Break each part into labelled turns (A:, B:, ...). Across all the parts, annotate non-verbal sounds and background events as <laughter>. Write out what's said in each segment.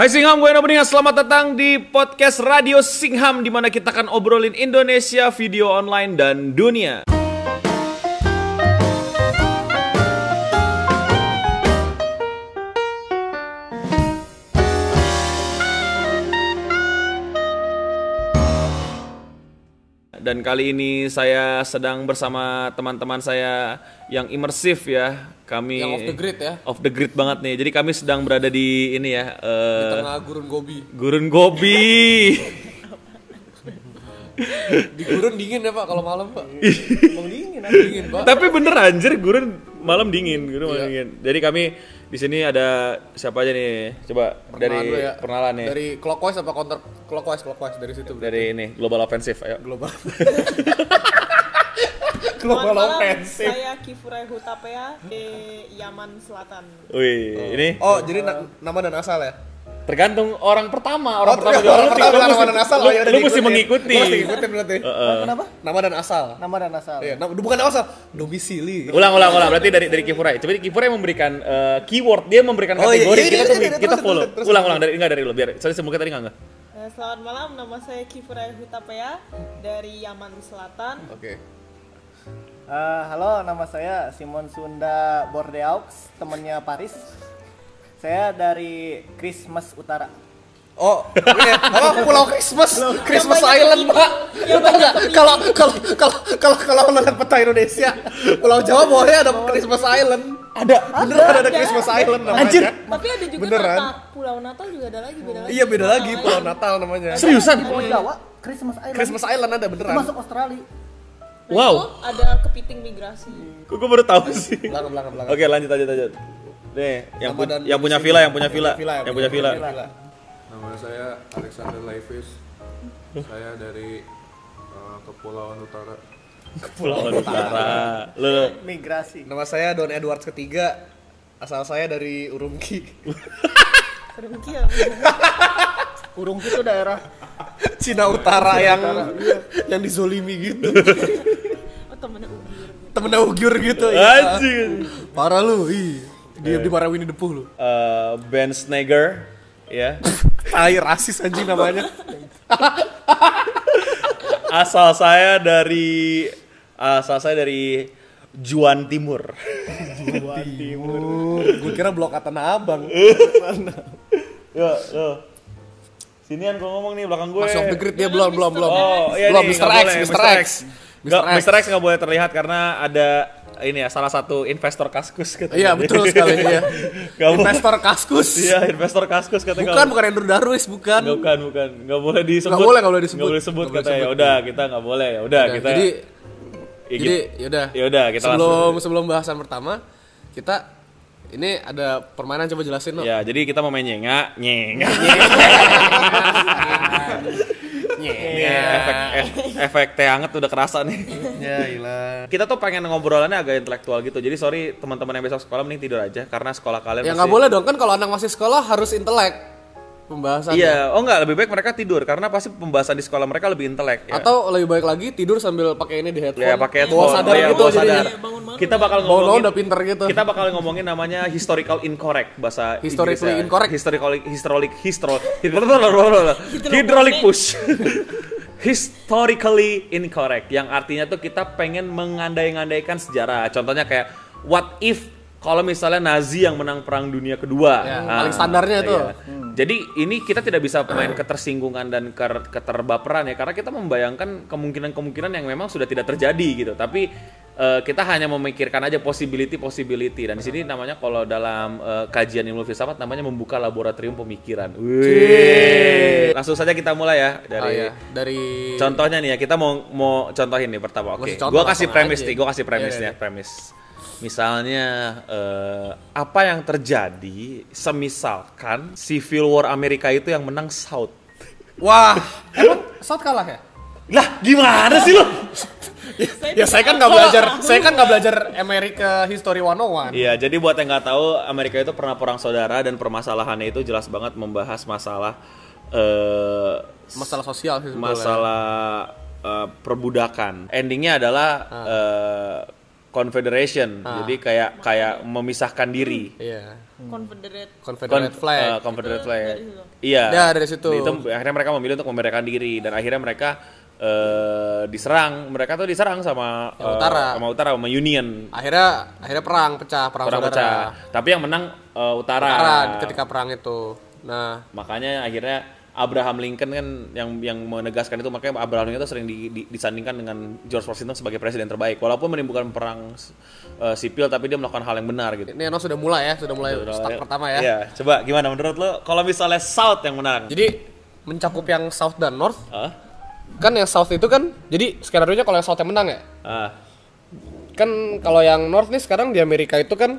A: Hai Singham, gue Nobendingan. Selamat datang di podcast Radio Singham di mana kita akan obrolin Indonesia, video online dan dunia. Dan kali ini saya sedang bersama teman-teman saya yang imersif ya. Kami
B: Yang off the grid ya.
A: Off the grid banget nih. Jadi kami sedang berada di ini ya. eh,
B: Di tengah gurun gobi.
A: Gurun
B: <laughs>
A: Gobi.
B: Di gurun dingin ya Pak kalau malam Pak.
C: Emang dingin ah.
B: Dingin Pak.
A: Tapi bener anjir gurun malam dingin, gurun
B: Iya.
A: malam dingin. Jadi kami di sini ada siapa aja nih? Coba dari
B: Perkenalan dulu ya.
A: perkenalan nih. Dari,
B: Dari clockwise apa counter clockwise clockwise dari situ. berarti.
A: ini Global Offensive ayo. <laughs>
B: global.
C: Selamat
B: global
C: malam,
B: offensive.
C: Saya Kifurai Hutapea di Yaman Selatan.
A: Wih, ini
B: Oh, jadi na- nama dan asal ya?
A: tergantung orang pertama, orang
B: Oh,
A: pertama Lu
B: tergantung orang
A: ti-
B: pertama,
A: lu
B: nama
A: mesti-
B: dan asal.
A: lu-
B: Oh, ya udah
A: Lu mesti
B: diikutin.
A: mengikuti.
B: Lu mesti ngikutin berarti.
C: Kenapa?
B: Nama dan asal.
C: Nama dan asal.
B: Iya, nama- bukan nama asal, domisili.
A: Ulang ulang ulang berarti dari dari Kifurai. Coba Kifurai memberikan eh, keyword, dia memberikan
B: Oh, iya,
A: kategori
B: iya,
A: kita
B: iya,
A: tuh
B: iya,
A: bi-
B: iya,
A: kita
B: terus,
A: follow.
B: terus, terus,
A: ulang ulang dari enggak dari lu biar. Soalnya semoga tadi enggak enggak.
C: Eh, Selamat malam, nama saya Kifurai Hutapea dari Yaman Selatan.
B: Oke.
D: Eh, halo, nama saya Simon Sunda Bordeaux, temannya Paris. Saya dari Christmas Utara.
B: Oh, ini
A: iya.
B: ya, apa Pulau Christmas, Christmas
C: banyak
B: Island,
C: ini.
B: Pak. Lu tau nggak? Kalau kalau kalau kalau kalau lu lihat peta Indonesia, Pulau Jawa bawahnya ada Christmas Island. Ada, beneran ada, Christmas Island namanya.
A: Anjir.
C: Tapi ada juga
B: Beneran?
C: Natal. Pulau Natal juga ada lagi, beda lagi. Nah,
B: Iya beda lagi
C: Pulau
B: Pulau
C: lain.
B: Natal namanya.
A: Seriusan?
D: Pulau Jawa, Christmas Island.
B: Christmas Island ada
D: Itu
B: beneran.
D: masuk Australia.
C: Nah, itu
A: Wow,
C: Ada kepiting migrasi.
A: kok gue baru tahu sih.
B: Belakang belakang belakang.
A: Oke lanjut lanjut lanjut. Nih, yang,
B: Nama
A: pu-
B: dan
A: yang punya
B: sini.
A: villa, yang punya villa, yang punya villa.
E: Nama saya Alexander Leifis. Saya dari eh, Kepulauan Utara.
A: <laughs> Pulau Utara. Lu
D: Migrasi.
B: Nama saya Don Edwards ketiga. Asal saya dari Urumqi. <laughs>
C: Demikian.
D: Urung itu daerah.
B: Cina Utara iya. yang yang dizolimi gitu.
C: Oh, temennya Ubir.
B: Temennya ugyur gitu. iya.
A: anjir.
B: Parah lu, ih. Dia dimarahin depuh lu.
A: Eh, ben Snagger ya.
B: Tai rasis anjing namanya.
A: Asal saya dari asal saya dari Juan Timur.
B: Gue kira blok Tanah Abang.
A: Yo, yo. Sinian gua ngomong nih belakang gue.
B: Masih off the grid dia belum belum belum.
A: Oh, iya
B: belum
A: nih,
B: Mr.
A: nggak boleh,
B: X, Mr. X.
A: Nggak,
B: Mr. X.
A: Mr. X nggak boleh terlihat karena ada ini ya salah satu investor kaskus katanya.
B: Iya, betul
A: <laughs>
B: sekali ya.
A: Nggak boleh.
B: Investor Kaskus.
A: Iya, investor kaskus katanya.
B: Bukan
A: nggak-
B: bukan Endro Darwis, bukan.
A: Nggak, bukan, bukan. Nggak boleh disebut.
B: Nggak boleh, nggak boleh disebut.
A: Nggak boleh sebut
B: Nggak boleh
A: katanya. Ya
B: sebut.
A: udah, kita nggak boleh. Ya udah,
B: Ya,
A: kita.
B: Jadi
A: ya,
B: jadi
A: gitu.
B: yaudah.
A: Yaudah, kita
B: sebelum
A: langsung.
B: sebelum bahasan pertama kita ini ada permainan coba jelasin dong.
A: Ya, jadi kita mau main ah. nyengak, nyengak. <laughs> Iya, efek, eh, ef- efek teh anget udah kerasa
B: <laughs>
A: nih.
B: Ya, ilah.
A: Kita tuh pengen ngobrolannya agak intelektual gitu. Jadi sorry teman-teman yang besok sekolah mending tidur aja karena sekolah kalian
B: Ya
A: pasti-
B: nggak boleh dong kan kalau anak masih sekolah harus intelek pembahasan.
A: Iya, oh enggak lebih baik mereka tidur karena pasti pembahasan di sekolah mereka lebih intelek ya.
B: Atau lebih baik lagi tidur sambil pakai ini di headphone.
A: ya pakai
B: Bawa
A: headphone.
B: sadar
A: Oh, iya,
B: gitu
A: bawa
B: jadinya.
A: sadar. Kita bakal
B: Bawa
A: ngomongin
B: udah pinter gitu.
A: Kita bakal ngomongin namanya historical incorrect bahasa
B: Historically
A: Inggrisnya.
B: incorrect.
A: Historical historic histro hydraulic push. <laughs> Historically incorrect yang artinya tuh kita pengen mengandai-ngandaikan sejarah. Contohnya kayak what if kalau misalnya Nazi yang menang perang dunia kedua. Nah, iya.
B: Ya, paling standarnya itu.
A: Jadi ini kita tidak bisa main ketersinggungan dan ker- keterbaperan ya karena kita membayangkan kemungkinan-kemungkinan yang memang sudah tidak terjadi gitu. Tapi eh, kita hanya memikirkan aja possibility possibility dan di sini namanya kalau dalam eh, kajian ilmu filsafat namanya membuka laboratorium pemikiran. Wih. Langsung saja kita mulai ya
B: Ah,
F: Oh,
A: dari
B: iya. dari
A: contohnya nih ya kita mau mau contohin nih pertama. Oke.
B: Masih contoh
A: Gua kasih
B: langsung
A: premis
B: aja.
A: nih, gua kasih premis
B: Iya,
A: nih, premis. Misalnya eh, apa yang terjadi semisalkan Civil War Amerika itu yang menang South.
B: Wah, emang South kalah ya?
A: Lah, gimana sih lo?
B: Ya saya kan nggak belajar, saya kan nggak belajar America History 101.
A: Iya, jadi buat yang nggak tahu, Amerika itu pernah perang saudara dan permasalahannya itu jelas banget membahas masalah eh
B: Masalah sosial sih sebetulnya.
A: masalah eh, perbudakan. Endingnya adalah eh, Confederation.
F: Ah.
A: Jadi kayak kayak memisahkan diri.
F: Iya.
B: Hmm.
C: Confederate
F: Confederate
A: Kon-
F: flag.
A: eh, Confederate
C: Itu
A: flag.
C: dari situ.
A: Iya.
F: Ya, dari situ.
A: Itu akhirnya mereka memilih untuk memerdekakan diri dan akhirnya mereka eh, diserang. Mereka tuh diserang sama
F: Yang
A: eh,
F: utara.
A: sama utara sama Union.
F: akhirnya akhirnya perang pecah perang,
A: Perang
F: saudara.
A: pecah. Tapi yang menang eh, utara.
F: Utara ketika perang itu. Nah,
A: Makanya akhirnya Abraham Lincoln kan yang yang menegaskan itu makanya Abraham Lincoln itu sering di- di- disandingkan dengan George Washington sebagai presiden terbaik walaupun menimbulkan perang eh, sipil tapi dia melakukan hal yang benar gitu.
F: ini Eno sudah mulai ya, sudah mulai start pertama ya.
A: Iya, coba gimana menurut lo kalau misalnya South yang menang?
F: Jadi mencakup yang south dan north.
A: Hah?
F: Kan yang south itu kan jadi skenario nya kalau yang south yang menang ya.
A: Ah,
F: Kan kalau yang north nih sekarang di Amerika itu kan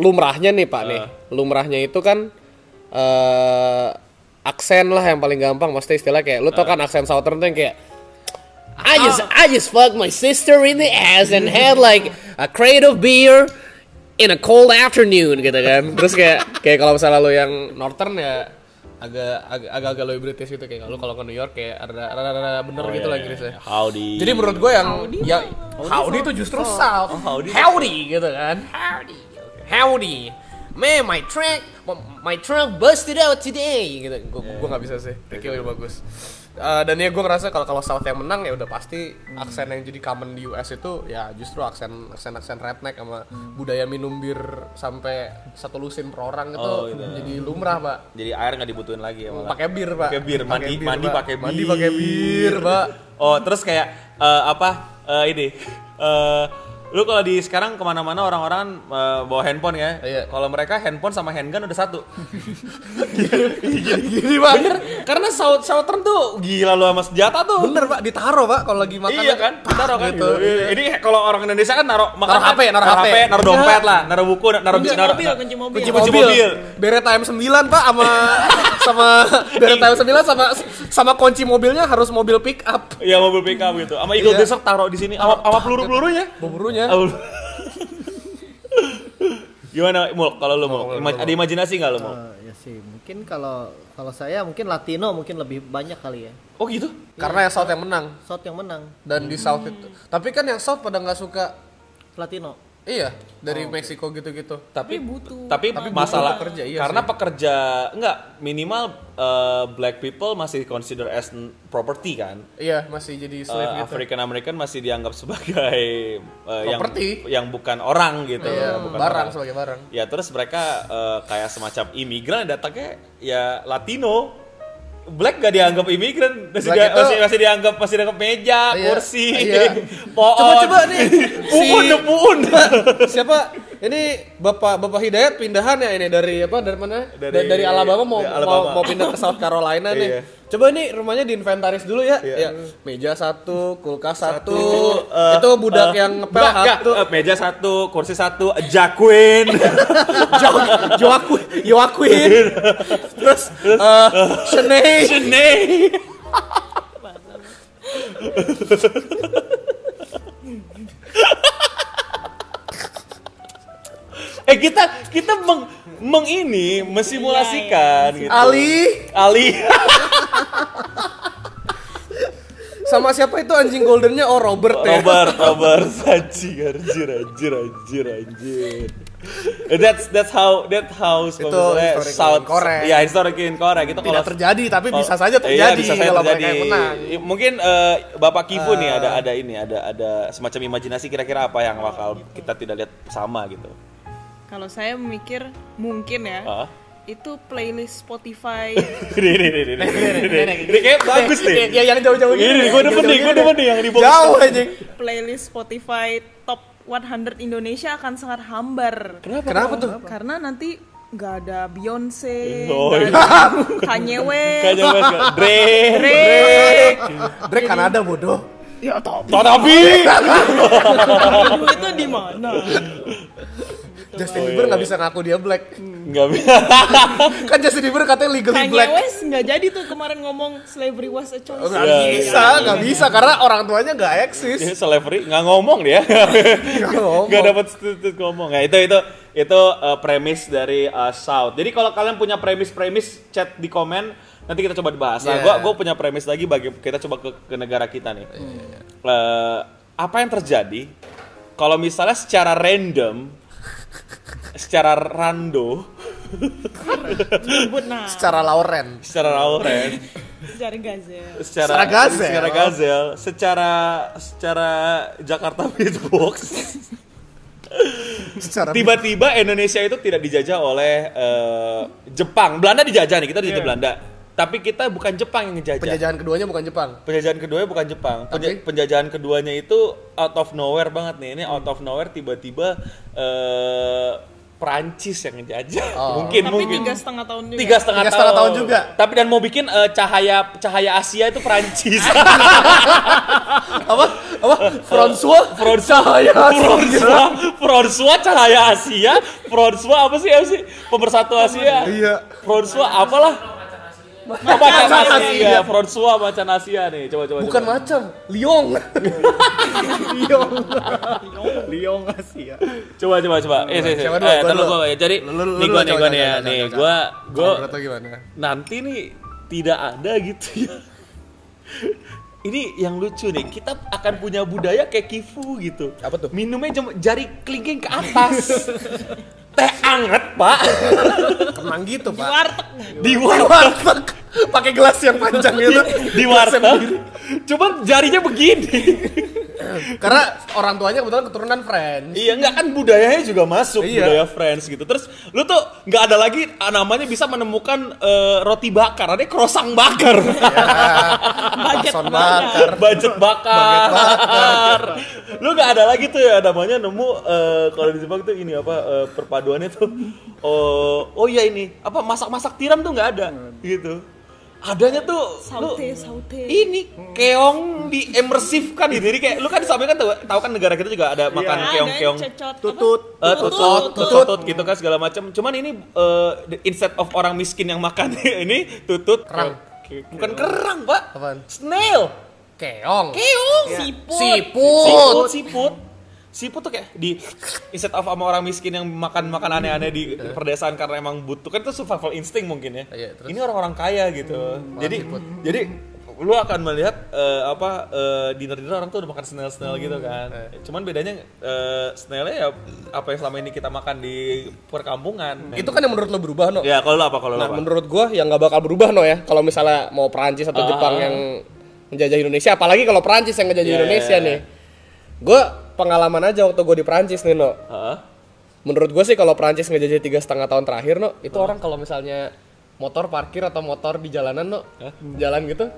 F: lumrahnya nih Pak nih. Lumrahnya itu kan eh aksen lah yang paling gampang maksudnya istilah kayak lu tau kan aksen southern tuh yang kayak I just I just fucked my sister in the ass and had like a crate of beer in a cold afternoon gitu kan. Terus kayak kayak kalau misalnya lo yang northern ya agak agak agak, agak lebih British gitu kayak lo kalau ke New York kayak ada rada rada bener gitu lah Inggrisnya.
A: howdy.
F: Jadi menurut gue yang ya howdy itu justru south.
A: Oh,
F: howdy. gitu kan. Howdy. Howdy. Man, my trunk my trunk busted out today gitu. Gue gue nggak bisa
A: Iya,
F: sih. Ricky lebih bagus. Eh, dan ya gue ngerasa kalau kalau South yang menang ya udah pasti aksen yang jadi common di US itu ya justru aksen aksen aksen redneck sama
A: Hmm.
F: budaya minum bir sampai satu lusin per orang itu
A: Oh, gitu.
F: jadi lumrah pak
A: jadi air nggak dibutuhin lagi ya malah.
F: pakai bir pak
A: Pakai bir, mandi mandi
F: Pak.
A: pakai bir.
F: mandi pakai bir pak
A: Oh, terus kayak eh, apa? eh, ini eh lu kalau di sekarang kemana-mana orang-orang kan, eh, bawa handphone ya.
F: Iya.
A: Kalau mereka handphone sama handgun udah satu.
F: gini pak
A: Karena south southern tuh gila lu sama senjata tuh.
F: Bener pak, ditaruh pak kalau lagi makan.
A: iya kan,
F: Pah,
A: kita taruh kan
F: gitu.
A: gitu. Ini kalau orang Indonesia kan naruh makan
F: Naruh HP, naruh Iya. HP.
A: naruh dompet lah, naruh buku, naruh
C: Kunci
A: naruh-
C: mobil, kunci mobil.
A: kunci Iya, mobil.
F: Beret ayam 9 pak sama sama beret ayam 9 sama sama kunci mobilnya harus mobil pick up.
A: Iya mobil pick up gitu. Sama Eagle
F: Iya.
A: Desert taruh di sini sama sama peluru-pelurunya.
F: Buburunya.
A: Aul. Gimana Mul kalau lu mau? Ima- ada imajinasi nggak lu mau?
F: Eh.
D: ya sih mungkin kalau kalau saya mungkin Latino mungkin lebih banyak kali ya
A: Oh gitu.
F: Karena yang South yang menang
D: South yang menang
F: dan di South itu. Tapi kan yang South pada nggak suka
D: Latino
F: iya dari
A: Oh,
F: Meksiko gitu-gitu.
A: Tapi
C: butuh.
A: tapi,
F: Tapi butuh
A: masalah
F: pekerja, iya
A: karena pekerja enggak minimal eh, black people masih consider as n- property kan.
F: Iya masih jadi
A: Eh,
F: slave gitu.
A: African American masih dianggap sebagai eh, yang
F: Property.
A: yang bukan orang gitu,
F: Iya,
A: bukan
F: barang
A: orang.
F: sebagai barang. <laughs>
A: Ya terus mereka eh, kayak semacam imigran datangnya ya Latino. Black gak dianggap imigran, masih,
F: Black
A: dia-
F: itu-
A: masih, masih dianggap masih dianggap meja,
F: Iya,
A: kursi,
F: iya.
A: <laughs> pohon.
F: Coba-coba
A: <laughs>
F: nih,
A: puun
F: si-
A: deh, puun.
F: Siapa? Ini Bapak Bapak Hidayat pindahan ya ini dari apa dari mana?
A: Dari-
F: Dari, dari, Alabama mau
A: dari Alabama.
F: mau mau pindah ke South Carolina nih.
A: Iya.
F: Coba ini rumahnya diinventaris dulu ya.
A: Iya.
F: Ya, Meja satu, kulkas satu.
A: eh,
F: itu budak
A: eh,
F: yang ngepel
A: enggak, enggak.
F: satu.
A: Eh, meja satu, kursi satu, jakuin.
F: Joaquin, Joaquin. Terus eh
A: <laughs>
F: Shanae.
A: Jenei. eh kita kita meng, meng ini mensimulasikan
F: iya.
A: gitu.
F: Ali
A: Ali.
F: sama siapa itu anjing goldennya? Oh Robert ya.
A: Robert, Robert, anjir, anjir, anjir, anjir, anjir. That's that's how that how
F: Itu
A: misalnya
F: historically
A: South
F: incorrect.
A: ya historically incorrect itu
F: Tidak
A: kalau
F: terjadi tapi
A: kalau-
F: bisa saja
A: iya,
F: terjadi
A: bisa saja
F: kalau mereka
A: terjadi.
F: yang menang. Ah.
A: I- Mungkin eh, Bapak Kivu nih ada ada ini ada ada semacam imajinasi kira-kira apa yang bakal kita tidak lihat sama gitu.
C: Kalau saya mikir mungkin ya.
F: <laughs>
A: Ah.
C: Itu playlist
B: <laughs>
C: Spotify.
A: Ini ini ini ini. Ini kayak bagus
F: Iya,
A: nih.
F: Iya, yang jauh-jauh
A: Ini nih, gue demen nih, gue demen nih yang di box.
F: Jauh anjing.
C: playlist Spotify top 100 Indonesia akan sangat hambar.
F: Kenapa, Kenapa tuh?
C: Karena nanti nggak ada Beyonce,
A: Oh,
C: nggak
A: iya.
C: ada Kanye West,
A: Kayaknya banget. nggak? Dre.
C: Drake.
F: Drake Kanada bodoh.
A: Tanabi.
C: Aduh, itu di mana?
A: Oh,
F: Justin
A: iya,
F: Bieber nggak bisa ngaku dia black.
A: Enggak bisa.
F: kan Justin Bieber katanya legally
C: Kanye
F: black.
C: West nggak jadi tuh kemarin ngomong slavery was a choice.
F: Nggak
A: Iya,
F: bisa, nggak bisa karena orang tuanya nggak eksis.
A: <laughs> Ini Slavery nggak ngomong dia.
F: Nggak ngomong.
A: nggak dapat status ngomong ya itu itu itu eh, premis dari eh, South jadi kalau kalian punya premis-premis chat di komen nanti kita coba dibahas nah
F: Yeah.
A: gua gua punya premis lagi
F: Iya,
A: bagi kita coba ke, ke negara kita nih Eh, apa yang terjadi kalau misalnya secara random secara rando
C: Nyebut nah.
D: Secara Lauren.
A: secara Lauren
C: Secara gazel.
A: secara
D: Secara gazel.
A: secara gazel, secara secara Jakarta <laughs> Beatbox
D: Secara
A: tiba-tiba Indonesia itu tidak dijajah oleh eh, Jepang Belanda dijajah nih kita
D: Iya.
A: dijajah Belanda tapi kita bukan Jepang yang ngejajah
F: Penjajahan keduanya bukan Jepang.
A: penjajahan keduanya bukan Jepang. Penja- Penjajahan keduanya itu out of nowhere banget nih. Ini out of nowhere tiba-tiba eh Perancis yang ngejajah. <laughs> mungkin
C: Tapi
A: mungkin.
C: tiga setengah tahun ya. juga.
A: Tiga setengah,
D: Oh. Tiga setengah tahun juga.
A: Tapi dan mau bikin eh, cahaya cahaya Asia itu Perancis.
D: <laughs> apa? Apa? François?
A: François,
F: Iya,
A: François, François cahaya Asia, François apa sih MC? Pemersatu Asia.
B: Iya.
A: François apalah? Macan Asia, François macan Asia nih. Coba coba.
D: Bukan
A: coba.
D: macan, Liong. Liong. Liong Asia.
A: Coba coba coba. Eh, eh, eh.
D: Siapa dulu?
A: eh,
D: Gua
A: ntar lu
D: dulu.
A: gua ya. Jadi
D: Lu- lu- lu
A: nih gua
D: dulu,
A: nih
D: coba,
A: gua
D: coba,
A: nih ya.
D: coba,
A: Nih
D: coba.
A: gua gua
F: Atau gimana?
A: nanti nih tidak ada gitu ya. Ini yang lucu nih, kita akan punya budaya kayak kifu gitu.
F: Apa tuh?
A: Minumnya cuma jari kelingking ke atas.
D: <laughs>
A: Teh anget, Pak.
D: Emang gitu, Pak.
C: Warteg.
A: Di warteg,
D: Pakai gelas yang panjang gitu. itu.
A: di warteg. Cuman jarinya begini.
D: Karena orang tuanya kebetulan keturunan French.
A: Iya nggak kan budayanya juga masuk
D: Iya.
A: budaya French gitu. Terus lu tuh nggak ada lagi ah, namanya bisa menemukan eh, roti bakar, ada croissant bakar,
C: Baget
D: Son
C: banget.
D: bakar.
A: budget bakar. <laughs> lu nggak ada lagi tuh ya namanya nemu eh, kalau di Jepang tuh ini apa eh, perpaduannya tuh oh oh iya ini apa masak-masak tiram tuh nggak ada gitu. Adanya tuh lu-
C: Saute, saute.
B: Iya.
A: ini keong diemersifkan gitu. Jadi kayak lu kan sampai kan tahu, tahu kan negara kita juga ada makan
C: Ada
A: keong-keong.
C: cecot, apa?
D: Tutut.
A: Eh, tutut,
C: Tutut.
A: tutut, gitu kan segala macam. Cuman ini eh, the- instead of orang miskin yang makan <laughs> ini tutut kerang. Bukan kerang, Pak.
D: Apaan?
A: Snail.
D: Keong.
C: Keong, siput.
A: Siput, siput. Siput tuh kayak di instead of sama orang miskin yang makan makan aneh-aneh di di perdesaan karena emang butuh kan itu survival instinct mungkin ya.
D: Iya, terus?
A: Ini orang-orang kaya gitu. jadi jadi lu akan melihat eh, apa eh, dinner-dinner orang tuh udah makan snail-snail gitu kan. Cuman bedanya eh, snailnya ya apa yang selama ini kita makan di perkampungan.
F: Itu kan yang menurut lo berubah, No.
A: ya kalau lu apa kalau lu
F: Nah,
A: apa?
F: menurut gua yang nggak bakal berubah no ya. Kalau misalnya mau Perancis
A: Ah.
F: atau Jepang yang menjajah Indonesia, apalagi kalau Perancis yang ngejajah
A: Iya,
F: Indonesia
A: iya, iya.
F: nih. Gua pengalaman aja waktu gua di Perancis nih, no.
A: Hah?
F: Menurut gua sih kalau Perancis ngejajah tiga setengah tahun terakhir, no, itu orang kalau misalnya motor parkir atau motor di jalanan, no, jalan gitu,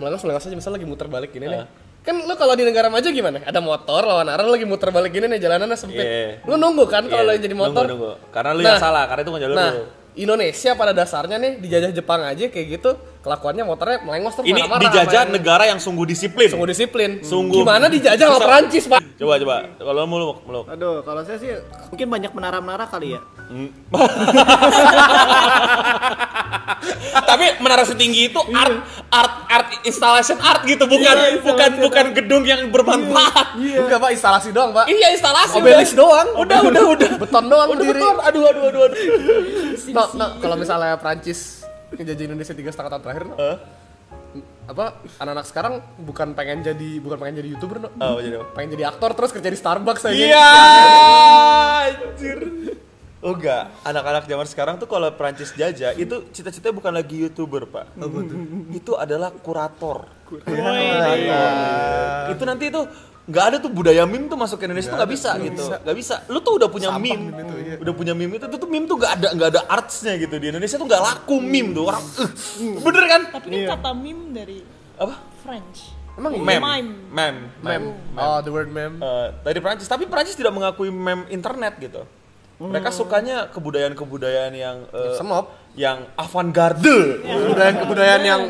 F: melengos melengos aja misalnya lagi muter balik gini nih. Kan lu kalau di negara maju gimana? Ada motor lawan arah lu lagi muter balik gini nih jalanannya sempit.
A: Iya.
F: Lu nunggu kan kalau
A: Iya,
F: lu jadi motor?
A: Nunggu, nunggu. Karena lu yang
F: Nah.
A: salah, karena itu nggak jalur
F: Nah,
A: lu.
F: Indonesia pada dasarnya nih dijajah Jepang aja kayak gitu, kelakuannya motornya melengos terus
A: Ini
F: marah-marah.
A: dijajah
F: sama yang-
A: negara yang sungguh disiplin.
F: sungguh disiplin.
A: Sungguh.
F: Gimana dijajah sama
A: Susah.
F: Perancis, Pak?
A: Coba coba. Kalau mau lu meluk.
D: Aduh, kalau saya sih mungkin banyak menara-menara kali ya.
A: Tapi menara setinggi itu art art art installation art gitu, bukan bukan bukan gedung yang bermanfaat.
F: Iya.
D: Enggak, Pak, instalasi doang, Pak.
A: Iya instalasi
D: Obelis doang.
A: Udah udah
F: <laughs>
A: udah.
D: Beton doang
A: Udah
D: berdiri.
A: betul. Aduh aduh aduh aduh.
F: No, no, kalau misalnya Perancis ngejajah Indonesia tiga setengah tahun terakhir, no,
A: Hah?
F: apa anak-anak sekarang bukan pengen jadi bukan pengen jadi youtuber, no.
A: Oh, jadi apa?
F: pengen jadi aktor terus kerja di Starbucks aja.
A: Iya. Anjir. Oh enggak, anak-anak zaman sekarang tuh kalau Prancis jajah itu cita-citanya bukan lagi youtuber pak, itu adalah kurator. Iya.
C: Iya.
A: itu nanti itu nggak ada tuh budaya meme tuh masuk ke Indonesia tuh nggak bisa gitu nggak bisa lu tuh udah punya meme iya. udah punya meme itu tuh meme tuh nggak ada nggak ada artsnya gitu di Indonesia tuh nggak laku meme tuh orang "Eh, bener kan
C: Tapi kan kata meme dari
A: apa
C: French.
F: Emang iya?
A: meme
C: Meme.
A: meme meme
F: Mem. Oh, the word mem.
A: Eh, dari Prancis tapi Prancis tidak mengakui meme internet gitu
F: Hmm.
A: mereka sukanya kebudayaan-kebudayaan yang eh,
F: Semop.
A: yang avant-garde
F: Iya. Kebudayaan-kebudayaan yang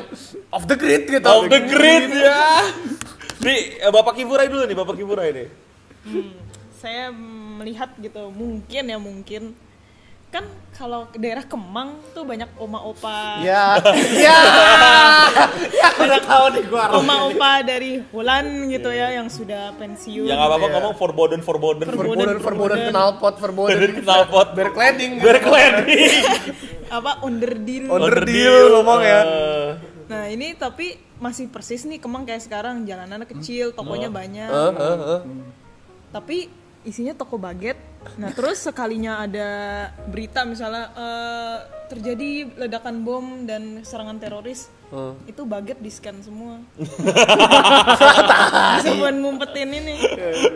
F: off the grid gitu.
A: of the grid ya Nih, eh, Bapak Kiburai dulu nih, Bapak Kiburai nih.
C: saya melihat gitu mungkin ya mungkin kan kalau ke daerah Kemang tuh banyak oma opa
A: Iya,
D: Ya.
F: Iya.
D: Ya. Ya, udah tahu nih gua.
C: oma opa dari Holland gitu ya yang sudah pensiun
A: Yang apa-apa
F: Iya.
A: ngomong forbidden forbidden
F: Verboden, verboden, knalpot, verboden.
A: Bener <laughs> knalpot
F: Berkleding.
A: berkleding
C: apa underdeal
A: Underdeal ngomong ya
C: nah ini tapi
B: Hmm.
C: masih
B: Eh,
C: persis nih Kemang kayak sekarang jalanannya kecil tokonya banyak tapi isinya toko baget. Nah terus sekalinya ada berita misalnya eh, terjadi ledakan bom dan serangan teroris,
B: Hmm.
C: itu baget di scan
B: <laughs>
C: semua. Bisa buat ngumpetin ini.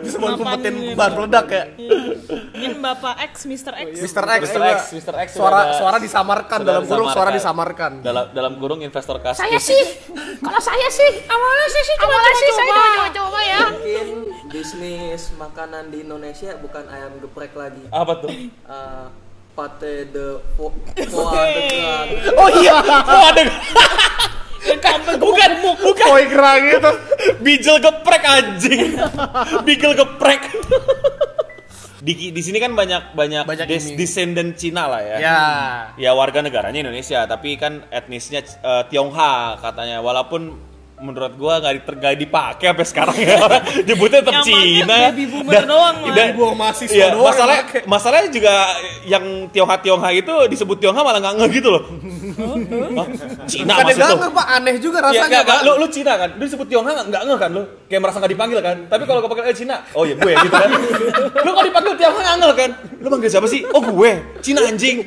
B: Bisa buat
C: Mapan
B: ngumpetin
C: gitu.
B: bahan peledak ya. Oh, iya.
C: Iya. Ini Bapak X, Mr. X.
B: Mr. X,
A: Mr.
B: coba.
A: X, Mr. X
B: suara
A: sudah-
B: suara disamarkan
A: sudah
B: dalam kurung suara
A: disamarkan.
B: disamarkan.
A: Dalam dalam kurung investor kasus.
G: Saya sih, kalau saya sih, awalnya saya sih coba-coba, saya coba-coba ya.
H: Mungkin bisnis makanan di Indonesia bukan ayam geprek lagi.
A: Apa tuh?
H: Eh, pate de fo, foie de gras.
B: Oh iya,
A: bukan, bukan.
B: koi kerang itu.
A: Bijel geprek anjing. Bijel geprek. Di, di sini kan banyak banyak,
B: Banyak
A: des-
B: ini.
A: descendant Cina lah ya.
B: Ya.
A: Ya warga negaranya Indonesia, tapi kan etnisnya eh, Tionghoa katanya. Walaupun menurut gua nggak diter- nggak dipakai sampai sekarang ya. <laughs> Nyebutnya tetap
C: Yang pakai
A: Cina.
C: baby boomer doang, Mas.
B: Baby boomer mahasiswa
A: Iya,
B: doang yang
A: masalah
B: pakai.
A: masalahnya juga yang Tionghoa Tionghoa itu disebut Tionghoa malah nggak ngeh gitu loh.
C: Oh,
A: Hah? Cina
B: Bukan
A: maksud
B: ganggu
A: lo?
B: Pak, aneh juga
A: Iya,
B: rasanya,
A: enggak,
B: Pak.
A: enggak, lu, lu Cina kan? Lu disebut Tionghoa enggak, enggak ngeh kan lu? Kayak merasa enggak dipanggil kan? Tapi kalau gue panggil eh, Cina, oh iya gue gitu kan. <laughs> lu kalau dipanggil Tionghoa enggak ngeh kan? Lu manggil siapa sih? Oh gue, Cina <laughs> anjing.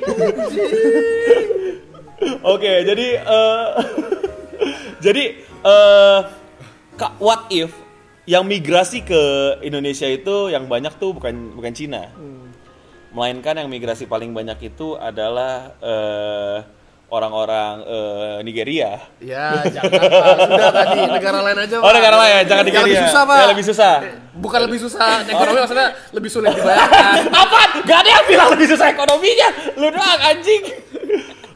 A: Oke, jadi eh <laughs> jadi eh Kak, what if yang migrasi ke Indonesia itu yang banyak tuh bukan bukan Cina. Melainkan yang migrasi paling banyak itu adalah eh, orang-orang eh, Nigeria.
B: Ya, jangan Pak. Sudah tadi negara lain aja.
A: Oh, negara lain, jangan
B: Yang
A: Nigeria.
B: lebih susah, Pak.
A: Yang lebih susah.
B: Bukan lebih susah, ekonomi maksudnya lebih sulit dibayarkan.
A: Apaan? Gak ada yang bilang lebih susah ekonominya. Lu doang anjing.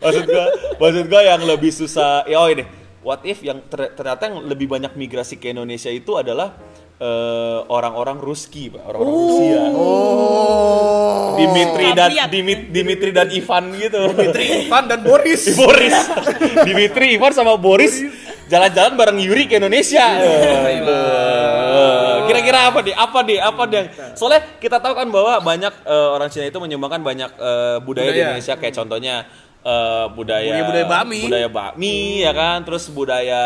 A: maksud gua, maksud gua yang lebih susah. Ya oh ini. What if yang ter- ternyata yang lebih banyak migrasi ke Indonesia itu adalah eh, orang-orang Ruski, Pak, orang-orang Rusia.
B: Oh.
A: Dimitri dan
C: Lihat.
A: Dimit- Dimitri dan Ivan gitu. Dimitri
B: Pan dan Boris.
A: <laughs> Boris. Dimitri Ivan sama Boris jalan-jalan bareng Yuri ke Indonesia. Eh, Kira-kira apa deh? Apa deh? Apa deh? Soalnya kita tahu kan bahwa banyak eh, orang Cina itu menyumbangkan banyak eh, budaya, di
B: Budaya.
A: Indonesia kayak contohnya eh, budaya
B: Budaya-budaya bakmi.
A: budaya bakmi, ya kan, terus budaya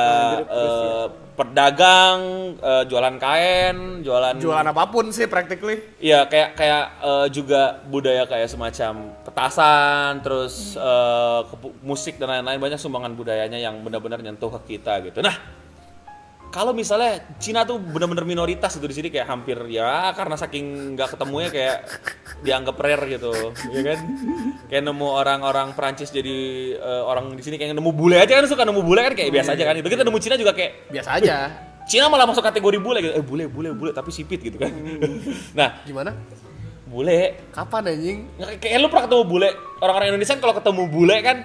A: eh, perdagang, eh, jualan kain, jualan
B: Hmm. Jualan apapun sih practically.
A: Iya kayak kayak eh, juga budaya kayak semacam petasan terus eh, kepu- musik dan lain-lain banyak sumbangan budayanya yang benar-benar nyentuh ke kita gitu. Nah, kalau misalnya Cina tuh benar-benar minoritas gitu di sini kayak hampir ya karena saking nggak ketemunya kayak dianggap rare gitu, ya kan? Kayak nemu orang-orang Perancis jadi eh, orang di sini kayak nemu bule aja kan suka nemu bule kan kayak biasa aja kan. Itu kita nemu Cina juga kayak
B: Biasa aja.
A: Cina malah masuk kategori bule gitu. Eh bule, bule, bule tapi sipit gitu kan.
B: Hmm.
A: nah,
B: Gimana?
A: bule
B: Kapan anjing?
A: Nggak, kayak lu pernah ketemu bule orang-orang Indonesia kan kalau ketemu bule kan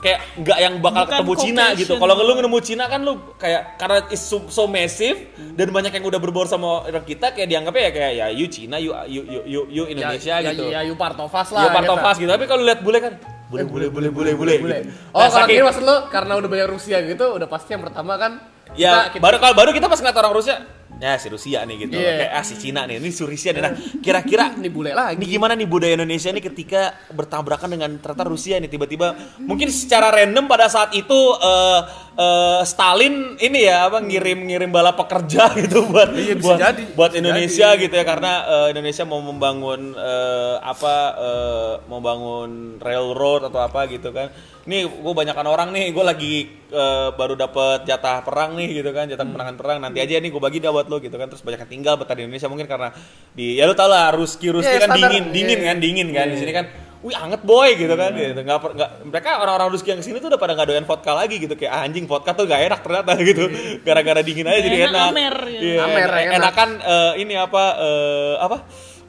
A: kayak nggak yang bakal
C: Bukan
A: ketemu Cina
C: Caucasian.
A: gitu kalau lu ketemu Cina kan lu kayak karena is so, so massive dan banyak yang udah berbaur sama orang kita kayak dianggapnya ya kayak ya you Cina you you you you, you Indonesia
B: ya,
A: gitu ya,
B: Ya, ya, you part of us lah.
A: part of
B: gitu.
A: us gitu tapi kalau lu lihat bule kan bule bule bule bule bule,
B: Bule.
A: gitu.
B: Oh,
A: Nah,
B: kalau
A: saking-
B: gini maksud lo karena udah banyak Rusia gitu, udah pasti yang pertama kan
A: ya
B: kita- kita-
A: baru kalau baru kita pas ngeliat orang Rusia ya si Rusia nih gitu
B: Iya.
A: kayak ah si Cina nih ini si Rusia nih nah kira-kira
B: Ini bule lagi.
A: ini gimana nih budaya Indonesia nih ketika bertabrakan dengan ternyata Rusia nih tiba-tiba mungkin secara random pada saat itu eh, eh, Stalin ini ya apa ngirim-ngirim bala pekerja <laughs> gitu buat
B: Iya, bisa
A: buat,
B: jadi.
A: buat
B: Bisa
A: Indonesia
B: jadi.
A: gitu ya karena eh, Indonesia mau membangun eh, apa eh, mau bangun railroad atau apa gitu kan nih gue banyakkan orang nih gue lagi eh, baru dapet jatah perang nih gitu kan jatah
B: Hmm.
A: kemenangan perang nanti aja nih gue bagi dah buat lo gitu kan terus banyak yang tinggal betah di Indonesia mungkin karena di ya lo tau lah Ruski Ruski
B: Iya,
A: kan
B: standar.
A: dingin dingin
B: Iya,
A: kan dingin kan di sini kan Wih anget boy gitu kan gitu. Nggak, per- nggak- mereka orang-orang Ruski yang kesini tuh udah pada nggak doyan vodka lagi gitu kayak "Ah, anjing vodka tuh gak enak ternyata gitu gara-gara dingin aja
C: Nggak
A: jadi
C: enak,
A: enak.
C: amer, ya.
A: Iya,
B: Iya. Amer,
A: enak-
B: enak.
A: Enakan eh, ini apa eh, apa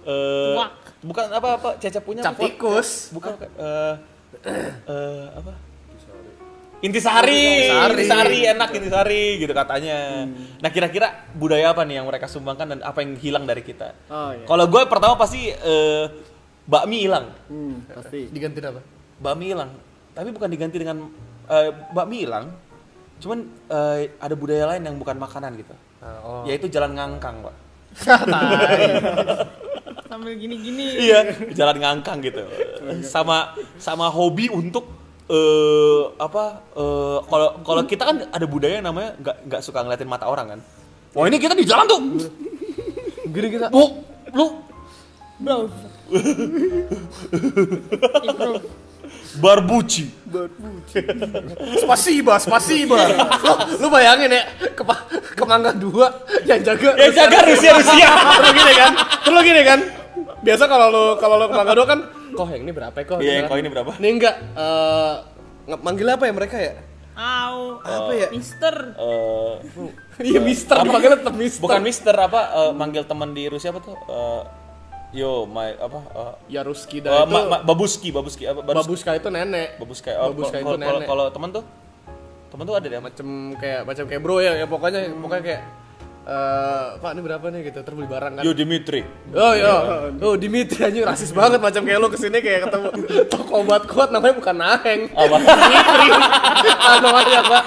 A: eh,
C: Wak.
A: bukan apa apa cecep punya
B: cap
A: apa?
B: tikus.
A: Bukan bukan, eh, eh, apa? Intisari,
B: Intisari.
A: Intisari enak Intisari gitu katanya.
B: Hmm.
A: Nah kira-kira budaya apa nih yang mereka sumbangkan dan apa yang hilang dari kita?
D: Oh, iya.
A: Kalau gue pertama pasti eh, bakmi hilang,
D: Hmm, pasti.
B: Diganti apa?
A: bakmi hilang. Tapi bukan diganti dengan eh, bakmi hilang, cuman eh, ada budaya lain yang bukan makanan gitu,
B: Oh.
A: yaitu jalan ngangkang pak.
C: <laughs> Sambil gini-gini.
A: iya jalan ngangkang gitu sama sama hobi untuk eh apa eh, kalau kalau kita kan ada budaya yang namanya nggak nggak suka ngeliatin mata orang kan wah ini kita di jalan tuh gini kita bu lu
C: Bro. Improve.
A: Barbuci.
I: Spasiba, spasiba.
B: Iya.
I: lu, lu bayangin ya, ke, kemangga dua yang jaga.
A: Ya jaga Rusia
B: <laughs>
A: Rusia.
I: Terus lu gini kan, terus lu gini kan. Biasa kalau lu kalau lu kemangga dua kan,
B: Koh yang ini berapa ya koh?
A: Iya, yang kau ini berapa?
B: Ini enggak eh nge- manggil apa ya mereka
A: <laughs>
B: ya?
C: Au.
I: apa ya?
C: Mister.
B: Oh.
A: Eh,
B: Iya Mister,
A: Apa?
B: manggilnya tetap Mister.
A: bukan Mister apa eh, manggil teman di Rusia apa tuh? Eh, yo, my apa? eh,
B: Ya
A: eh,
B: Ruski dan itu.
A: Ma- Ma- babuski, babuski apa? Barus-
B: Babuska itu nenek.
A: babuska. eh,
B: Babuska
A: kalau-
B: itu
A: kalau-
B: nenek.
A: Kalau teman tuh, teman tuh ada deh.
B: macam kayak macam kayak bro ya, ya pokoknya pokoknya kayak eh Pak ini berapa nih gitu terbeli barang kan.
A: Yo
B: <laughs>
A: Dimitri.
B: Oh iya, oh Dimitri anjir rasis banget macam kayak lu kesini kayak ketemu <laughs> toko obat kuat namanya bukan Naheng.
A: Apa?
B: Ah, namanya apa?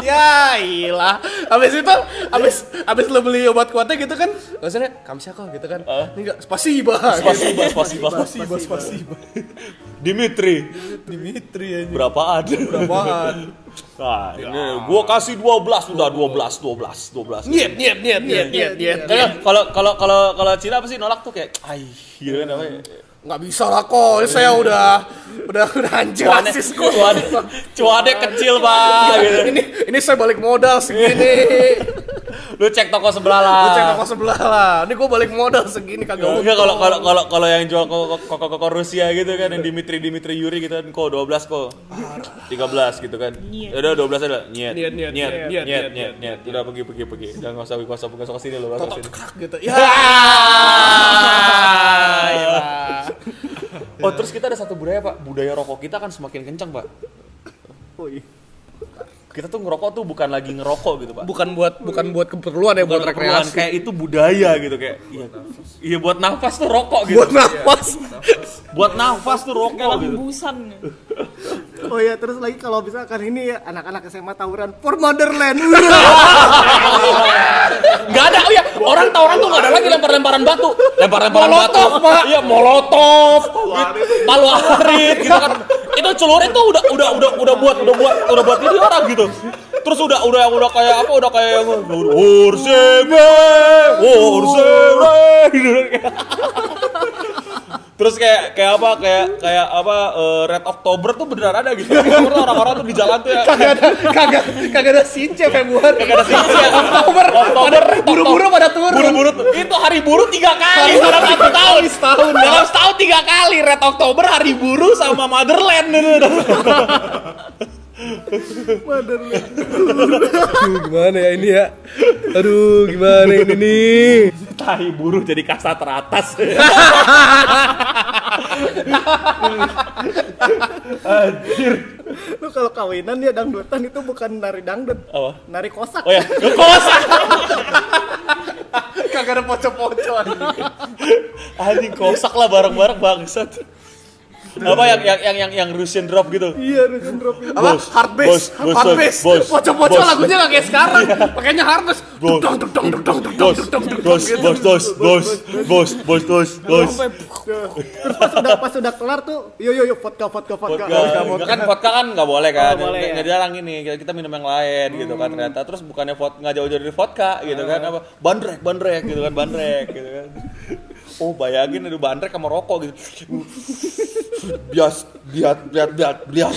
B: ya ilah. Habis itu habis habis lu beli obat kuatnya gitu kan. Maksudnya kamsia kok gitu kan.
A: Eh.
B: Ini enggak spasiba.
A: <laughs> Spasiba, spasiba. Spasiba, Dimitri.
B: Dimitri anjir.
A: Berapaan?
B: Apaan?
A: Nah, ini gua kasih 12 udah 12 12 12.
B: Nyet nyet nyet nyet nyet nyet.
A: Kalau kalau kalau kalau kalau Cina apa sih nolak tuh kayak ai gitu kan namanya.
B: Enggak bisa lah kok. Ini Saya udah udah udah anjir
A: Cuannya,
B: rasis Iya. kok.
A: cuannya, cuannya kecil pak gitu.
B: Ini ini saya balik modal segini.
A: <laughs> Lu cek toko sebelah lah.
B: Lu cek toko sebelah lah. Ini gua balik modal segini kagak
A: Enggak kalau kalau kalau kalau yang jual koko koko, koko Rusia gitu kan yang Dimitri Dimitri Yuri gitu kan kok 12 kok 13 gitu kan. Udah 12 aja lah. Nyet.
B: Nyet,
A: nyet,
B: nyet, nyet,
A: nyet,
B: nyet,
A: nyet, nyet. Udah pergi pergi pergi. Jangan enggak usah enggak usah enggak usah kesini lu. nggak usah
B: <laughs>
A: kesini.
B: Kak, gitu. Ya. iyalah.
A: Oh, terus kita ada satu budaya, Pak. Budaya rokok kita akan semakin kencang, Pak.
B: Oh, iya.
A: Kita tuh ngerokok tuh bukan lagi ngerokok gitu, Pak.
B: bukan buat bukan buat keperluan ya buat
A: keperluan,
B: rekreasi
A: kayak itu budaya gitu kayak iya, iya buat nafas tuh rokok gitu
B: buat nafas
A: buat nafas tuh rokok
C: Kalah
A: gitu
C: hembusan.
D: Oh ya, terus lagi kalau bisa kan ini ya anak-anak SMA tawuran for motherland.
A: nggak ada oh ya orang tawuran tuh nggak ada lagi lempar-lemparan batu lempar-lemparan batu iya molotov palu arit gitu kan itu celurit tuh udah udah udah udah buat udah buat udah buat ini orang gitu terus udah udah udah kayak apa udah kayak yang ursebe ursebe gitu kayak- Terus kayak kayak apa kayak kayak apa eh, Red October tuh beneran ada gitu. Terus orang-orang tuh di jalan tuh ya
B: kagak ada kagak kagak ada since ya, Februari kagak ada since
A: ya.
B: Oktober
A: Oktober,
B: ada buru-buru pada turun
A: buru-buru tuh. itu hari buruh tiga kali
B: Hari
A: dalam
B: buruh
A: satu
B: tiga
A: tahun
B: kali setahun.
A: dalam setahun tiga kali red oktober hari buruh sama motherland
B: Aduh, gimana ya ini ya aduh gimana ini nih
A: tahi buruh jadi kasta teratas
D: Lu kalau kawinan ya dangdutan itu bukan nari dangdut.
A: Apa?
D: Nari kosak.
H: iya.
A: oh ya kosak
B: kagak ada poco-poco
A: anjing kosak lah bareng-bareng bangsat apa yang yang yang yang, yang Russian drop gitu
D: Iya, Russian drop itu.
B: apa
A: Bos,
B: hard
A: bos,
B: bass
A: bos,
B: hard bass
A: bos,
B: poco-poco
A: bos.
B: lagunya nggak kayak sekarang
A: Iya.
B: pakainya hard bass
A: Bos.
B: dong dong dong dong dong dong
A: bos bos bos bos bos bos bos bos bos
D: Terus pas udah pas udah kelar tuh, yo yo yo vodka vodka vodka.
A: Vodka, Nggak kan vodka kan nggak boleh kan,
D: Oh, boleh,
A: nggak
D: ya. Hmm.
A: nggak dilarang ini. Kita, kita minum yang lain gitu kan ternyata. Terus bukannya vod nggak jauh-jauh dari vodka gitu kan, apa bandrek bandrek gitu kan bandrek gitu kan. Oh bayangin aduh bandrek sama rokok gitu. Bias, biat, biat, biat, bias.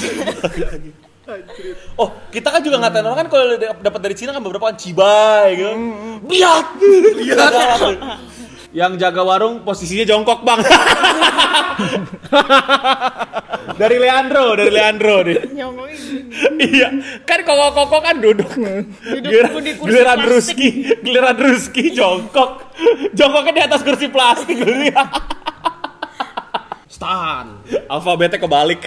A: Oh, kita kan juga ngatain orang kan kalau dap- dapat dari Cina kan beberapa kan cibai gitu. Biat, biat. Yang jaga warung posisinya jongkok, Bang. dari Leandro, dari Leandro nih
C: Nyongongin gini.
A: iya kan koko koko kan duduk duduk
C: di kursi
A: giliran
C: plastik.
A: ruski giliran ruski jongkok jongkoknya di atas kursi plastik gitu ya
B: stan
A: alfabetnya kebalik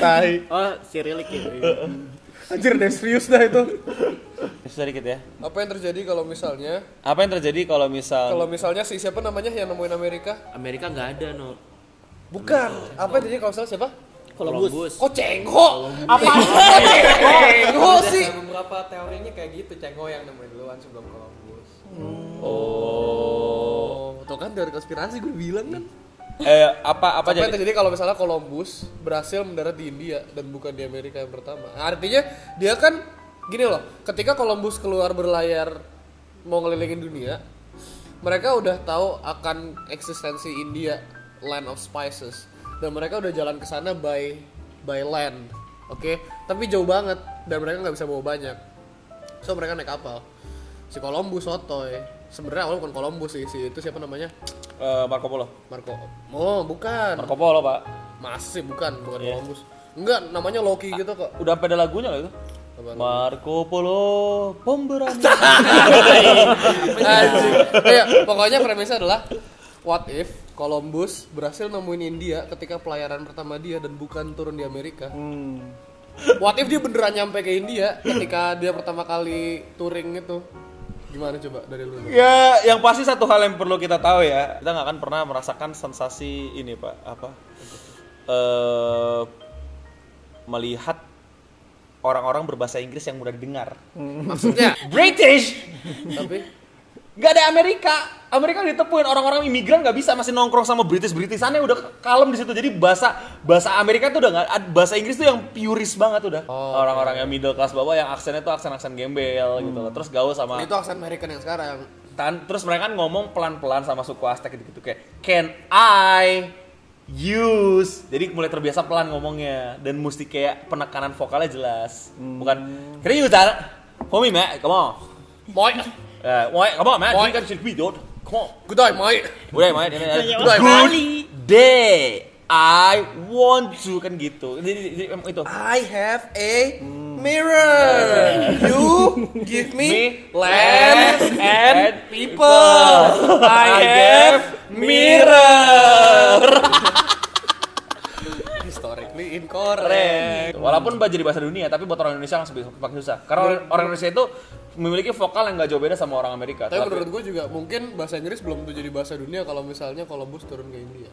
B: tai Eh,
D: Oh, Cyrillic ya.
B: anjir deh serius dah itu
A: sedikit ya
B: apa yang terjadi kalau misalnya
A: apa yang terjadi kalau misal
B: kalau misalnya si siapa namanya yang nemuin Amerika
J: Amerika nggak ada no
B: Bukan. Apa yang terjadi kalau misalnya siapa?
J: Columbus
B: Kok cengho? Apa? cengho sih.
J: Ada beberapa teorinya kayak gitu Cengo yang nemuin duluan sebelum Columbus
B: Hmm. Oh, tuh kan teori konspirasi gue bilang kan.
A: eh, apa apa
B: Apa yang
A: jadi
B: terjadi kalau misalnya Columbus berhasil mendarat di India dan bukan di Amerika yang pertama? Nah, artinya dia kan gini loh, ketika Columbus keluar berlayar mau ngelilingin dunia,
H: mereka udah tahu akan eksistensi India land of spices dan mereka udah jalan ke sana by by land oke tapi jauh banget dan mereka nggak bisa bawa banyak so mereka naik kapal si Columbus sotoy sebenarnya awalnya bukan Columbus sih si itu siapa namanya
A: Eh, Marco Polo.
H: Marco oh bukan
A: Marco Polo, Pak.
H: masih bukan bukan Columbus enggak namanya Loki gitu kok
A: Udah sampai ada lagunya loh itu. Marco Polo pemberani.
H: Anjing. Iya, pokoknya premisnya adalah what if Columbus berhasil nemuin India ketika pelayaran pertama dia dan bukan turun di Amerika. What if dia beneran nyampe ke India ketika dia pertama kali touring itu? Gimana coba dari lu?
A: ya, yang pasti satu hal yang perlu kita tahu ya, kita nggak akan pernah merasakan sensasi ini, Pak. Apa? Eh melihat orang-orang berbahasa Inggris yang mudah didengar.
H: Maksudnya,
A: <laughs> British,
H: tapi
A: nggak ada Amerika. Amerika ditepuin orang-orang imigran nggak bisa masih nongkrong sama British Britishannya udah kalem di situ. Jadi bahasa bahasa Amerika tuh udah nggak ad- bahasa Inggris tuh yang purist banget udah. orang-orang yang middle class bawah yang aksennya tuh aksen-aksen gembel gitu loh. Terus gaul sama
H: itu aksen American yang sekarang.
A: Tan- terus mereka kan ngomong pelan-pelan sama suku Aztec gitu-gitu kayak can I use jadi mulai terbiasa pelan ngomongnya dan mesti kayak penekanan vokalnya jelas bukan can you use that homie mate come on
H: Moi,
A: Eh, why come on mate you
H: Why?
A: got shit beat dude come on
H: good day, moi.
A: udah mate ini, ini,
C: Banyak
A: good
C: sekali.
A: day I want to kan gitu jadi, jadi em, itu Hmm.
H: I have a mirror.
A: <laughs>
H: You give me land and people. I have
A: <laughs>
H: mirror. Historically incorrect.
A: Gitu. Walaupun bah jadi bahasa dunia, tapi buat orang Indonesia langsung bisa- makin susah. Karena orang,
H: Iya.
A: orang Indonesia itu memiliki vokal yang nggak jauh beda sama orang Amerika.
H: Tapi
A: Tapi-
H: menurut gue juga mungkin bahasa Inggris belum tuh jadi bahasa dunia kalau misalnya Columbus turun ke India.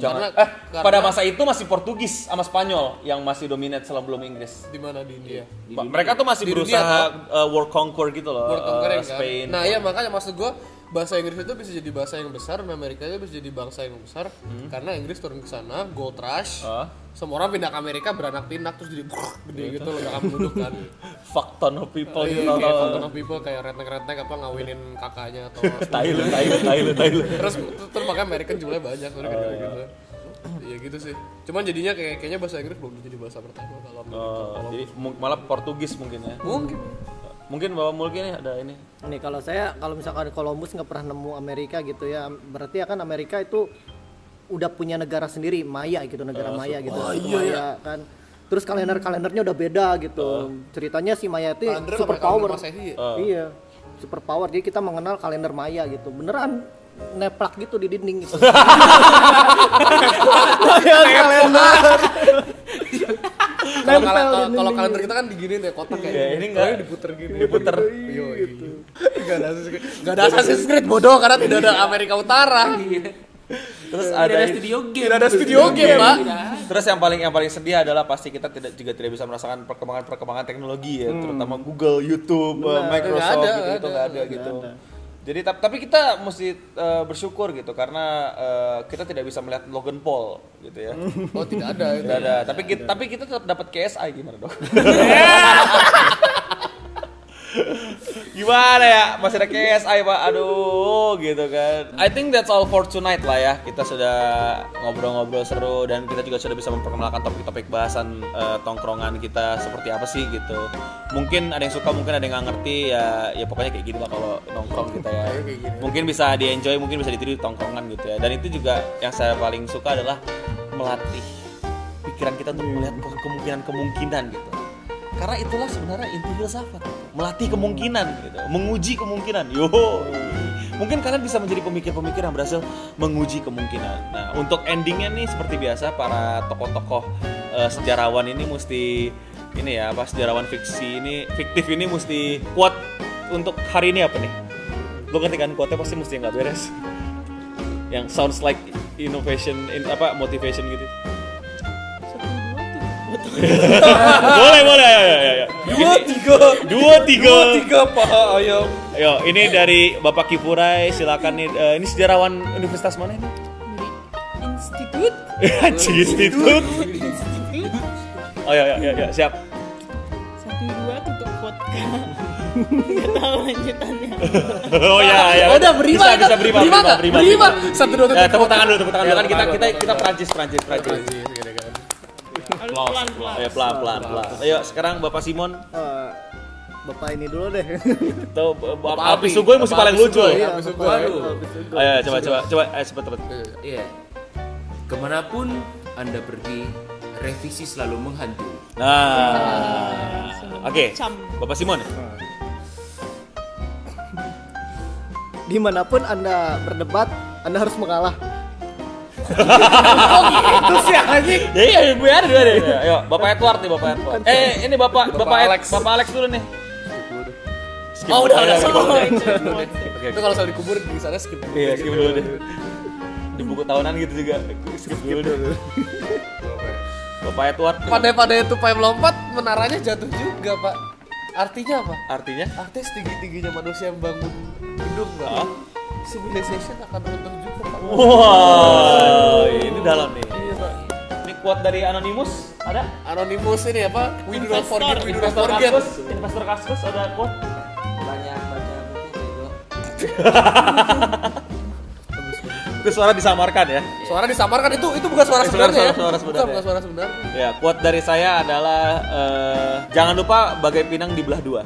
A: jangan.
H: Karena-
A: eh,
H: karena-
A: pada masa itu masih Portugis sama Spanyol yang masih dominat sebelum belum Inggris.
H: Di mana di India?
A: Ba- mereka tuh masih
H: Di dunia,
A: berusaha uh, world conquer gitu loh.
H: World
A: uh,
H: Conquer yang kan?
A: Spain.
H: Nah iya makanya maksud gue bahasa Inggris itu bisa jadi bahasa yang besar dan Amerika itu bisa jadi bangsa yang besar
A: Hmm.
H: karena Inggris turun ke sana gold rush
A: Ah.
H: semua orang pindah ke Amerika beranak pinak terus jadi gede
A: Iya,
H: gitu loh kamu duduk
A: <laughs>
H: kan
A: Fuck ton of people
H: Iya,
A: gitu
H: kayak
A: loh.
H: Fountain of people kayak redneck redneck apa ngawinin kakaknya atau
A: Tai lu, tai lu, tai lu, tai
H: <laughs>
A: lu.
H: terus terus makanya Amerika jumlahnya banyak
A: Oh,
H: terus gede gitu Iya gitu sih. Cuman jadinya kayak kayaknya bahasa Inggris belum jadi bahasa pertama kalau Amerika.
A: Uh, jadi mu- malah Portugis mungkin ya.
H: Mungkin.
A: Mungkin Bapak Mulki nih ada ini.
D: Nih kalau saya kalau misalkan Columbus nggak pernah nemu Amerika gitu ya, berarti akan Amerika itu udah punya negara sendiri, Maya gitu, negara
H: Ah,
D: Maya gitu,
H: oh,
D: suku
H: iya,
D: Maya kan. Terus kalender-kalendernya udah beda gitu. Ceritanya si Maya itu
H: Ah. Kalender nggak
D: super
H: pakai kalender
D: power.
H: Masehi ya?
D: Iya. Super power. Jadi kita mengenal kalender Maya gitu. Beneran neplak gitu di dinding
H: <laughs>
D: gitu. Maya kalender.
H: Kalau
D: Nempel di
H: kal- kalau-
D: dinding.
H: kalau kalender kita kan diginiin
B: ya,
H: deh kotak kayak.
A: Iya,
B: gitu.
A: ini nggak-
H: Kalau diputer gini.
A: diputer.
H: Iya, gitu. Enggak ada Assassin's Creed. Nggak ada Assassin's Creed bodoh karena tidak ada Amerika Utara.
A: Terus ada
H: Tidak ada studio game, Pak.
A: Terus yang paling yang paling sedih adalah pasti kita tidak juga tidak bisa merasakan perkembangan-perkembangan teknologi ya, terutama Google, YouTube, eh, Microsoft
H: Hmm. Nggak ada,
A: gitu gitu
H: nggak
A: nggak ada, gitu. Jadi tap- tapi kita mesti eh, bersyukur gitu karena eh, kita tidak bisa melihat Logan Paul gitu ya.
H: Oh, tidak ada.
A: Nggak ada. Tapi kita, tapi kita tetap dapat KSI gimana dong? gimana ya masih ada KSI pak aduh gitu kan I think that's all for tonight lah ya kita sudah ngobrol-ngobrol seru dan kita juga sudah bisa memperkenalkan topik-topik bahasan eh, tongkrongan kita seperti apa sih gitu mungkin ada yang suka mungkin ada yang nggak ngerti ya ya pokoknya kayak gini lah kalau nongkrong kita ya mungkin bisa di enjoy mungkin bisa ditiru di tongkrongan gitu ya dan itu juga yang saya paling suka adalah melatih pikiran kita untuk melihat kemungkinan-kemungkinan gitu karena itulah sebenarnya inti filsafat melatih kemungkinan gitu menguji kemungkinan yo mungkin kalian bisa menjadi pemikir-pemikir yang berhasil menguji kemungkinan nah untuk endingnya nih seperti biasa para tokoh-tokoh eh, sejarawan ini mesti ini ya apa sejarawan fiksi ini fiktif ini mesti kuat untuk hari ini apa nih lo ngerti kan kuatnya pasti mesti yang nggak beres yang sounds like innovation in, apa motivation gitu boleh boleh ayo ayo ayo, ayo dua tiga dua tiga
H: Tiga paha ayam.
A: ayo ini dari bapak Kipurai silakan nih eh, ini sejarawan universitas mana ini <laughs>
C: Institut
A: Haji institut Oh, ya,
C: Institut
A: ayo ayo ayo, ayo siap <laughs>
C: Satu dua tutup pot vodka. <laughs> Gak tahu lanjutannya.
A: oh ya ya.
B: Oh, udah, Brima
A: bisa,
B: itu.
A: bisa Brima
B: Brima
A: Brima
B: nggak? Brima. Satu, dua,
A: Ya,
B: tiga.
A: tepuk tangan dulu, tepuk tangan
F: Ya,
A: dulu kan kita
F: tepuk
A: kita
F: tangan,
A: kita Prancis Prancis Prancis.
C: Harus
A: Applause,
C: pelan-pelan.
A: Ya pelan pelan pelan. Ayo sekarang Bapak Simon
D: Eh, bapak ini dulu deh.
A: atau Bapak Api Sugoi mesti paling lucu.
D: Iya,
A: Ayo
D: bapak,
H: Waduh.
D: bapak Sugo.
A: ayo, coba coba coba ayo cepet cepet.
K: Iya. Kemanapun Anda pergi, revisi selalu menghantui.
A: Nah. Oke.
C: Cam.
A: Bapak Simon.
D: Dimanapun anda berdebat, anda harus mengalah.
A: Ya iya biar dulu deh. Ayo Bapak Edward nih Bapak Edward. Eh ini Bapak Bapak
F: Bapak
A: Alex.
F: Alex.
A: Bapak Alex dulu nih. ya,
F: Oh udah udah skip.
A: Oke.
F: Itu kalau saya dikubur di sana skip.
A: Iya, skip dulu deh. Di buku tahunan gitu juga. Skip dulu deh. Bapak Edward.
F: Pandai-pandai itu tupai melompat, menaranya jatuh juga, Pak. Artinya apa?
A: Artinya?
F: Artinya setinggi-tingginya manusia membangun gedung, Pak.
A: Hah?
F: Civilization akan runtuh juga, Pak.
A: Oh. Wow, ini dalam nih. Ini quote dari Anonymous ada?
F: Anonymous ini apa? We do not forget, we do not
A: Investor
F: forget.
A: Kaskus, Investor Kaskus ada quote?
H: Banyak baca buku bego.
A: Itu suara disamarkan ya.
F: Suara disamarkan itu itu bukan suara
A: Eh, suara-
F: sebenarnya. ya.
A: suara- suara
F: Bukan,
A: sebenarnya.
F: Bukan suara sebenarnya.
A: Ya, quote dari saya adalah eh, jangan lupa bagai pinang dibelah dua.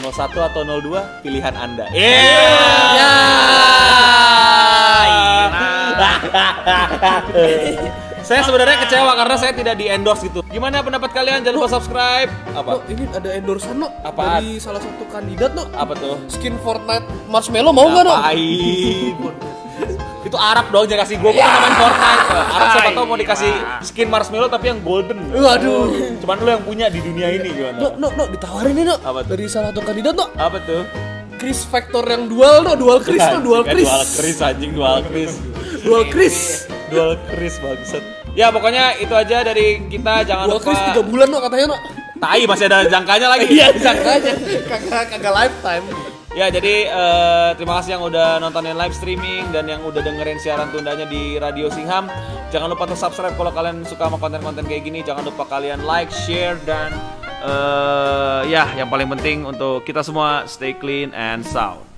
A: 01 atau 02 pilihan Anda. Iya. saya sebenarnya kecewa karena saya tidak di endorse gitu. Gimana pendapat kalian? Jangan lupa subscribe.
F: Lo,
A: Apa?
F: ini ada endorsean lo
A: Apaan?
F: dari salah satu kandidat lo.
A: Apa tuh?
F: Skin Fortnite Marshmallow
A: Nah,
F: mau nggak lo?
A: Ngapain? itu Arab dong jangan kasih gue bukan main Fortnite.
F: Iya.
A: Arab siapa tahu mau dikasih skin marshmallow tapi yang golden.
F: Waduh.
A: Cuman lu yang punya di dunia ini
F: No,
A: gimana?
F: no, no, ditawarin nih, no.
A: Apa tuh?
F: Dari salah satu kandidat, no.
A: Apa tuh?
F: Chris Factor yang dual, no. Dual Chris, no. Dual
A: Anjing,
F: Chris.
A: Dual Chris Iya, anjing, dual Chris.
F: Dual Chris.
A: Dual Chris bangsat. Ya pokoknya itu aja dari kita jangan
F: Dual
A: lupa.
F: Chris 3 bulan, no, katanya, no.
A: Tai masih ada jangkanya lagi. Iya, jangkanya.
F: Kagak kagak lifetime.
A: Ya jadi eh, terima kasih yang udah nontonin live streaming dan yang udah dengerin siaran tundanya di Radio Singham. Jangan lupa untuk subscribe kalau kalian suka sama konten-konten kayak gini. Jangan lupa kalian like, share dan eh, ya yang paling penting untuk kita semua stay clean and sound.